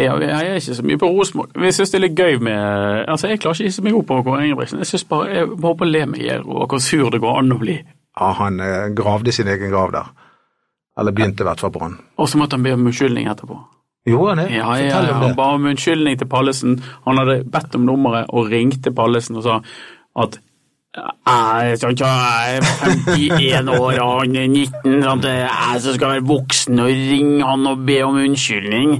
[SPEAKER 3] Ja, vi heier ikke så mye på Rosenborg. Vi syns det er litt gøy med Altså, Jeg klarer ikke å gi så mye opp over Kåre Ingebrigtsen. Jeg synes bare, jeg håper å le meg i hjel over hvor sur det går an å bli.
[SPEAKER 4] Ja, han eh, gravde sin egen grav der. Eller begynte i hvert fall på han.
[SPEAKER 3] Og så måtte han be om unnskyldning etterpå.
[SPEAKER 4] Gjorde han det?
[SPEAKER 3] Ja, ja,
[SPEAKER 4] Fortell om
[SPEAKER 3] han
[SPEAKER 4] det.
[SPEAKER 3] ba om unnskyldning til Pallesen. Han hadde bedt om nummeret og ringte Pallesen og sa at «Æ, jeg skal ikke ha- jeg er 51 år og han er 19, sånn at jeg som skal være voksen og ringe han og be om unnskyldning.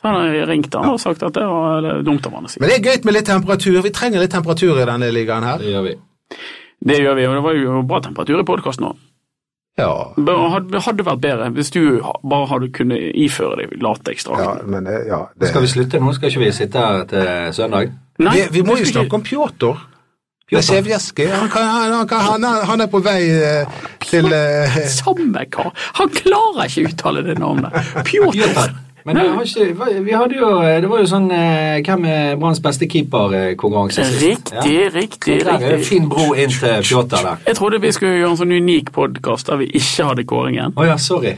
[SPEAKER 3] Så han har ringt han og sagt at det var dumt av han å si.
[SPEAKER 4] Men det er gøy med litt temperatur. Vi trenger litt temperatur i denne ligaen her.
[SPEAKER 5] Det gjør vi.
[SPEAKER 3] Det gjør vi, og det var jo bra temperatur i podkasten òg.
[SPEAKER 4] Ja.
[SPEAKER 3] Hadde hadde vært bedre hvis du ha- bare hadde kunnet iføre deg
[SPEAKER 4] Ja,
[SPEAKER 3] lateksdrakten.
[SPEAKER 4] men eh, ja, det...
[SPEAKER 5] Skal vi slutte nå? Skal ikke vi sitte her til søndag?
[SPEAKER 3] Nei,
[SPEAKER 4] vi, vi må jo
[SPEAKER 3] det skulle
[SPEAKER 4] snakke om Pjotr. Lesevjeski. Han, kan, han, han, kan, han, er- han er på vei eh, til eh,
[SPEAKER 3] ikke- Samme kar! Han klarer ikke å uttale det navnet. Pjotr.
[SPEAKER 5] Men det, har ikke, vi hadde jo, det var jo sånn eh, Hvem er Branns beste eh, keeper-konkurranse?
[SPEAKER 3] Riktig, riktig, riktig.
[SPEAKER 5] Fin bro inn til Pjotr der.
[SPEAKER 3] Jeg trodde vi skulle gjøre en sånn unik podkast der vi ikke hadde kåringen.
[SPEAKER 5] Å ja, sorry.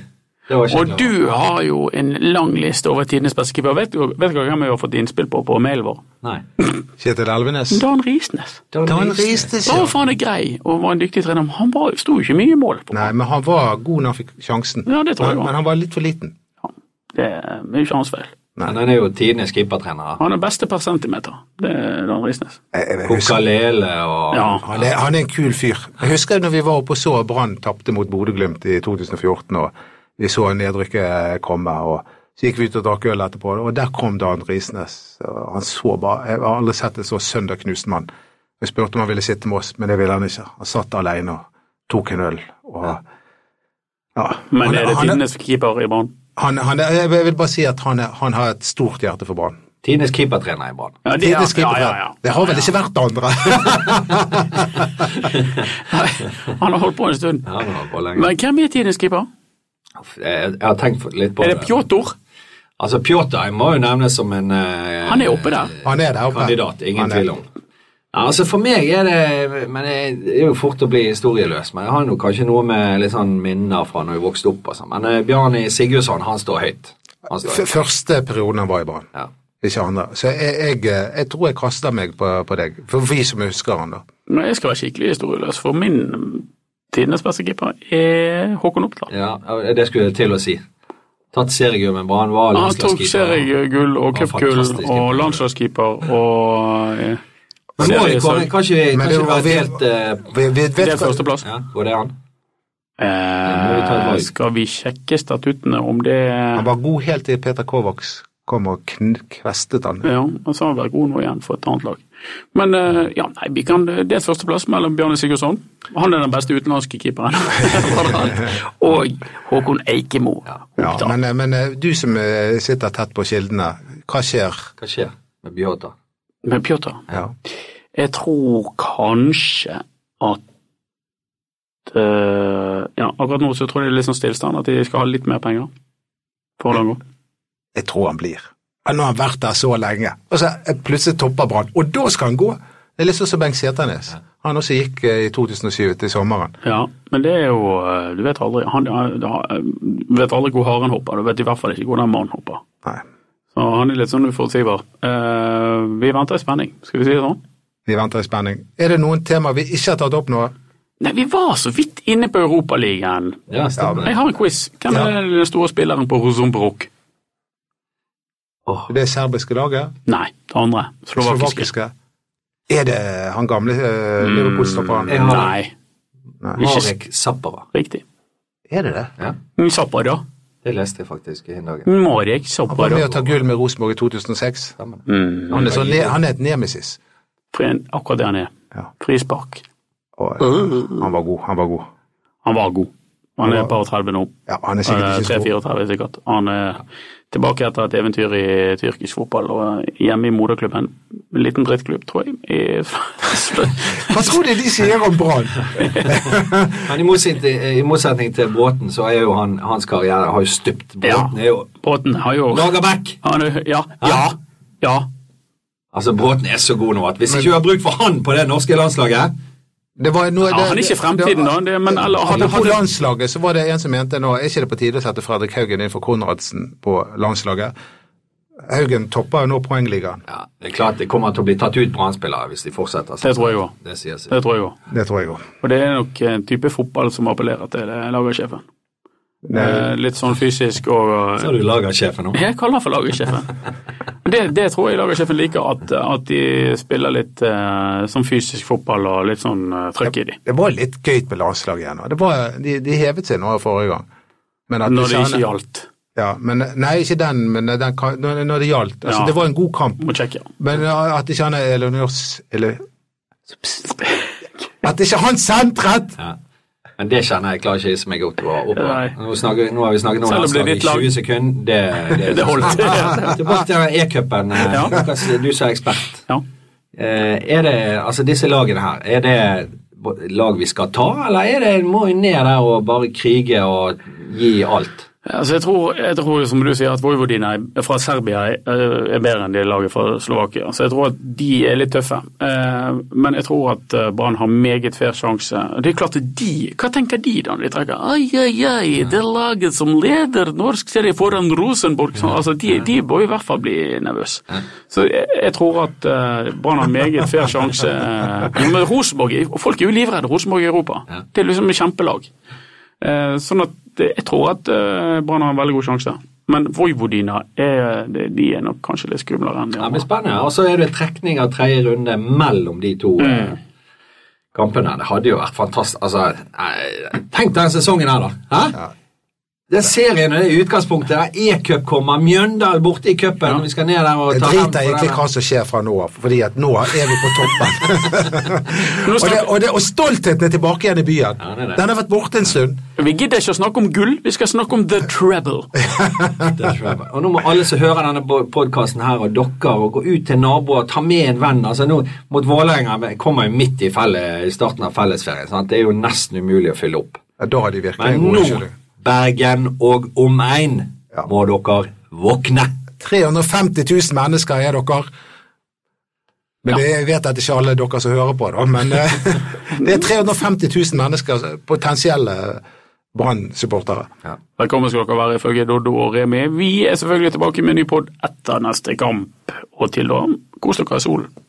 [SPEAKER 5] Det var ikke
[SPEAKER 3] Og du har jo en lang liste over tidenes beste keeper. Vet du vet du hvem vi har fått innspill på på mailen vår?
[SPEAKER 5] Nei.
[SPEAKER 4] Kjetil Elvenes.
[SPEAKER 3] Dan Risnes.
[SPEAKER 4] Dan Ristes, ja.
[SPEAKER 3] Bare for han er grei og var en dyktig trener, men han var, sto jo ikke mye i mål. på.
[SPEAKER 4] Nei, men han var god når han fikk sjansen.
[SPEAKER 3] Ja, det tror jeg
[SPEAKER 4] men,
[SPEAKER 3] også.
[SPEAKER 4] men han var litt for liten.
[SPEAKER 3] Det er jo ikke hans feil.
[SPEAKER 5] Men han er jo tidenes keepertrener.
[SPEAKER 3] Han er beste per centimeter, det er Dan Risnes.
[SPEAKER 4] Jeg, jeg husker,
[SPEAKER 5] Kokalele og
[SPEAKER 3] Ja.
[SPEAKER 4] han, er, han er en kul fyr. Jeg husker når vi var oppe og så Brann tapte mot Bodø-Glimt i 2014, og vi så nedrykket komme. og så gikk vi ut og drakk øl etterpå, og der kom Dan Risnes. og Han så bare, Jeg har aldri sett en så sønderknust mann. Jeg spurte om han ville sitte med oss, men det ville han ikke. Han satt alene og tok en øl. og... Ja.
[SPEAKER 3] Men
[SPEAKER 4] Han
[SPEAKER 3] er det
[SPEAKER 4] han
[SPEAKER 3] tidenes keeper i Brann?
[SPEAKER 4] han, han, er- jeg vil bare si at han, er, han har et stort hjerte for Brann.
[SPEAKER 5] Tidenes keepertrener i Brann.
[SPEAKER 3] Ja, det-
[SPEAKER 4] Det,
[SPEAKER 3] ja,
[SPEAKER 4] det,
[SPEAKER 3] ja, ja, ja.
[SPEAKER 4] det har vel ikke vært andre?
[SPEAKER 3] Han har holdt på en stund.
[SPEAKER 5] Ja, han har på lenge.
[SPEAKER 3] Men hvem er tidens keeper?
[SPEAKER 5] Uff, Jeg, jeg har tenkt litt på
[SPEAKER 3] Er det Pjotr?
[SPEAKER 5] Altså, Pjotr må jo nevnes som en eh,
[SPEAKER 3] Han er oppe der.
[SPEAKER 4] Han er der oppe.
[SPEAKER 5] kandidat, ingen
[SPEAKER 4] Han er-
[SPEAKER 5] tvil om. Ja, altså For meg er det men jeg- Det er jo fort å bli historieløs, men jeg har jo kanskje noe med litt sånn minner fra når jeg vokste opp. Altså. Men eh, Bjarni Sigurdsson, han står høyt. Han står
[SPEAKER 4] F
[SPEAKER 5] høyt.
[SPEAKER 4] første perioden han var i Brann,
[SPEAKER 5] Ja.
[SPEAKER 4] ikke andre. Så jeg, jeg, jeg tror jeg kaster meg på, på deg, for vi som husker han da.
[SPEAKER 3] Nei, Jeg skal være skikkelig historieløs, for min tidenes beste keeper er Håkon Oppdal.
[SPEAKER 5] Ja, ja, det skulle jeg til å si. Tatt seriegull med Brann, var
[SPEAKER 3] Han tok
[SPEAKER 5] landslagskeeper.
[SPEAKER 3] seriegull og
[SPEAKER 5] Ja,
[SPEAKER 3] cupgull og
[SPEAKER 5] fantastisk keeper.
[SPEAKER 3] landslagskeeper og eh,
[SPEAKER 5] Men må vi komme,
[SPEAKER 3] seriesorg.
[SPEAKER 5] kan ikke
[SPEAKER 4] Men
[SPEAKER 5] vi kan
[SPEAKER 4] det
[SPEAKER 5] ikke
[SPEAKER 4] var-
[SPEAKER 5] være helt eh,
[SPEAKER 4] Vi, vi
[SPEAKER 3] Det
[SPEAKER 4] vet
[SPEAKER 3] er førsteplass.
[SPEAKER 5] Ja, går det an? må vi ta et
[SPEAKER 3] Eh,
[SPEAKER 5] valg.
[SPEAKER 3] skal vi sjekke statuttene om det
[SPEAKER 4] han var god helt til Peter Kovacs kom og kn- kvestet han.
[SPEAKER 3] Ja, og så har han vært god nå igjen for et annet lag. Men eh, ja, nei, vi kan, det er et førsteplass mellom Bjarne Sigurdsson, han er den beste utenlandske keeperen, og Håkon Eikemo.
[SPEAKER 4] Ja,
[SPEAKER 3] Oppdal.
[SPEAKER 4] men, men du som eh, sitter tett på kildene, hva skjer?
[SPEAKER 5] Hva skjer med Bjota?
[SPEAKER 3] Men Pjotr,
[SPEAKER 4] Ja.
[SPEAKER 3] jeg tror kanskje at eh, Ja, akkurat nå så tror jeg det er litt sånn stillstand, at de skal ha litt mer penger for å la gå.
[SPEAKER 4] Jeg tror han blir. Ja, Nå har han vært der så lenge, og så eh, plutselig topper Brann, og da skal han gå! Det er litt sånn som Bengt Seternes. Han også gikk eh, i 2007 til sommeren.
[SPEAKER 3] Ja, men det er jo eh, Du vet aldri han, han- han- Du vet aldri hvor haren hopper, du vet i hvert fall ikke hvor den mannen hopper.
[SPEAKER 4] Nei,
[SPEAKER 3] Så han er litt sånn uforutsigbar. Eh, vi venter i spenning, skal vi si det sånn?
[SPEAKER 4] vi venter i spenning. Er det noen tema vi ikke har tatt opp nå?
[SPEAKER 3] Nei, vi var så vidt inne på Europaligaen.
[SPEAKER 5] Ja, stemmer
[SPEAKER 3] Jeg
[SPEAKER 5] det.
[SPEAKER 3] har en quiz. Hvem
[SPEAKER 4] Ja.
[SPEAKER 3] er den store spilleren på Rosenbrok?
[SPEAKER 5] Åh,
[SPEAKER 4] Det serbiske laget?
[SPEAKER 3] Nei, det andre. Slovakiske.
[SPEAKER 4] Slovakiske. Er det han gamle uh, Liverpool-stopperen?
[SPEAKER 5] Ja.
[SPEAKER 3] Nei,
[SPEAKER 5] Marek Zappara.
[SPEAKER 3] riktig. Mm.
[SPEAKER 4] Er det det?
[SPEAKER 5] Ja,
[SPEAKER 3] Zappa, da.
[SPEAKER 5] det leste jeg faktisk i dag.
[SPEAKER 3] Mm, Marek
[SPEAKER 4] Han var
[SPEAKER 3] Zappa,
[SPEAKER 4] med
[SPEAKER 3] da.
[SPEAKER 4] å ta gull med Rosenborg i 2006.
[SPEAKER 5] Stemmer det.
[SPEAKER 3] Mm.
[SPEAKER 4] Han er, sånn, ne- han er et nemesis.
[SPEAKER 3] For en- Akkurat det han er.
[SPEAKER 4] Ja.
[SPEAKER 3] Frispark.
[SPEAKER 4] Og,
[SPEAKER 3] Mm.
[SPEAKER 4] eh, han var god, han var god.
[SPEAKER 3] Han var god. Han er et par og 30 nå.
[SPEAKER 4] Ja, han er
[SPEAKER 3] Eh,
[SPEAKER 4] sikkert ikke stor.
[SPEAKER 3] 3-34 sikkert. Han er tilbake etter et eventyr i tyrkisk fotball og hjemme i moderklubben. En liten drittklubb, tror jeg. I
[SPEAKER 4] Hva tror du de sier om Brann?
[SPEAKER 5] Men i motsetning, i motsetning til Bråten, så er jo han, hans karriere har jo stupt. Bråten
[SPEAKER 3] Ja.
[SPEAKER 5] er jo
[SPEAKER 3] Bråten har jo
[SPEAKER 5] Lagerbäck!
[SPEAKER 3] han er, Ja, ja, ja.
[SPEAKER 5] Altså, Bråten er så god nå at hvis ikke du har bruk for han på det norske landslaget
[SPEAKER 4] Det var noe,
[SPEAKER 3] Ja, han er ikke fremtiden, da, det- men eller- hadde-
[SPEAKER 4] Apropos
[SPEAKER 3] hadde-
[SPEAKER 4] landslaget, så var det en som mente nå, er ikke det på tide å sette Fredrik Haugen inn for Konradsen på landslaget? Haugen topper jo nå poengligaen,
[SPEAKER 5] ja, Det er klart det kommer til å bli tatt ut brannspillere hvis de fortsetter sånn.
[SPEAKER 3] Det tror jeg òg.
[SPEAKER 5] Det sier seg.
[SPEAKER 3] Det tror jeg òg.
[SPEAKER 4] det tror jeg òg.
[SPEAKER 3] Og det er nok en type fotball som appellerer til det, lagersjefen. Eh, Litt sånn fysisk og
[SPEAKER 5] Så har du lagersjefen nå.
[SPEAKER 3] Jeg kaller han for lagersjefen. Men Det, det tror jeg lagersjefen liker, at, at de spiller litt eh, sånn fysisk fotball og litt sånn eh, trøkk i de.
[SPEAKER 4] Det var litt gøy med landslaget igjen. og Det var, de, de hevet seg nå forrige gang. Men at
[SPEAKER 3] Når det
[SPEAKER 4] kjenner-
[SPEAKER 3] ikke gjaldt.
[SPEAKER 4] Ja, men, nei, ikke den, men den, ka- når, når det gjaldt. Altså,
[SPEAKER 3] Ja.
[SPEAKER 4] Det var en god kamp,
[SPEAKER 3] Må sjekke.
[SPEAKER 4] men at ikke han er Elonors eller, At ikke han sentret!
[SPEAKER 5] Ja. Men det kjenner jeg klarer ikke jeg som meg godt å opp.
[SPEAKER 3] Nei.
[SPEAKER 5] Nå, snakker, vi- nå har vi snakket om
[SPEAKER 3] Selv om det er
[SPEAKER 5] landslaget i
[SPEAKER 3] ditt lag.
[SPEAKER 5] 20 sekunder. Det,
[SPEAKER 3] Det holdt.
[SPEAKER 5] Tilbake til den E-cupen. eh,
[SPEAKER 3] Ja.
[SPEAKER 5] Lukas, Du som er ekspert.
[SPEAKER 3] Ja.
[SPEAKER 5] Eh, er det, altså disse lagene her, er det b- lag vi skal ta, eller er det, må vi ned der og bare krige og gi alt?
[SPEAKER 3] Altså, jeg, tror, jeg tror, som du sier, at Vojvodina er- fra Serbia er, er bedre enn de laget fra Slovakia. Så jeg tror at de er litt tøffe. Eh, men jeg tror at eh, Brann har meget fair sjanse. Det er klart at de Hva tenker de da når de trekker? Ai, ai, ai, det laget som leder norsk serie foran Rosenborg. Sånn, altså, de, de bør i hvert fall bli nervøse. Så jeg, jeg tror at eh, Brann har meget fair sjanse. Eh, men Rosenborg, folk er jo livredde Rosenborg i Europa. Det er liksom et kjempelag. Eh, sånn at eh, jeg tror at eh, Brann har en veldig god sjanse. Men Vojvodina er, de de er nok kanskje litt skumlere enn de
[SPEAKER 5] Ja, men
[SPEAKER 3] andre.
[SPEAKER 5] Spennende. Og så er det trekning av tredje runde mellom de to eh, kampene. Det hadde jo vært fantastisk. Altså, eh, tenk den sesongen her, da. Hæ? Den serien og det utgangspunktet der E-cup kommer, Mjøndalen borte i cupen, og vi skal ned der og
[SPEAKER 4] Jeg
[SPEAKER 5] ta hevn
[SPEAKER 4] driter
[SPEAKER 5] på
[SPEAKER 4] egentlig
[SPEAKER 5] den.
[SPEAKER 4] hva som skjer fra nå av, fordi at nå er vi på toppen.
[SPEAKER 3] Nå
[SPEAKER 4] og, det,
[SPEAKER 3] snakker-
[SPEAKER 4] og, det, og stoltheten er tilbake igjen i byen.
[SPEAKER 5] Ja, det er det.
[SPEAKER 4] Den har vært borte en stund.
[SPEAKER 3] Vi gidder ikke å snakke om gull, vi skal snakke om the treble.
[SPEAKER 5] Det tror jeg. Og nå må alle som hører denne podkasten her, og dere, og gå ut til naboer, ta med en venn. altså nå Mot Vålerenga men kommer jo midt i, felle, i starten av fellesferien. sant? Det er jo nesten umulig å fylle opp.
[SPEAKER 4] Ja, da har de virkelig
[SPEAKER 5] Men
[SPEAKER 4] en god
[SPEAKER 5] nå,
[SPEAKER 4] unnskyldning.
[SPEAKER 5] Bergen og omegn,
[SPEAKER 4] Ja.
[SPEAKER 5] må dere våkne.
[SPEAKER 4] 350 000 mennesker er dere. Men
[SPEAKER 5] Ja.
[SPEAKER 4] det, jeg vet at det ikke er alle dere som hører på, da, men eh, det er 350 000 mennesker, potensielle Brann-supportere.
[SPEAKER 3] Velkommen skal dere være ifølge Doddo og Remi. Vi er selvfølgelig tilbake med en ny pod etter neste kamp. Og til da, kos dere i solen.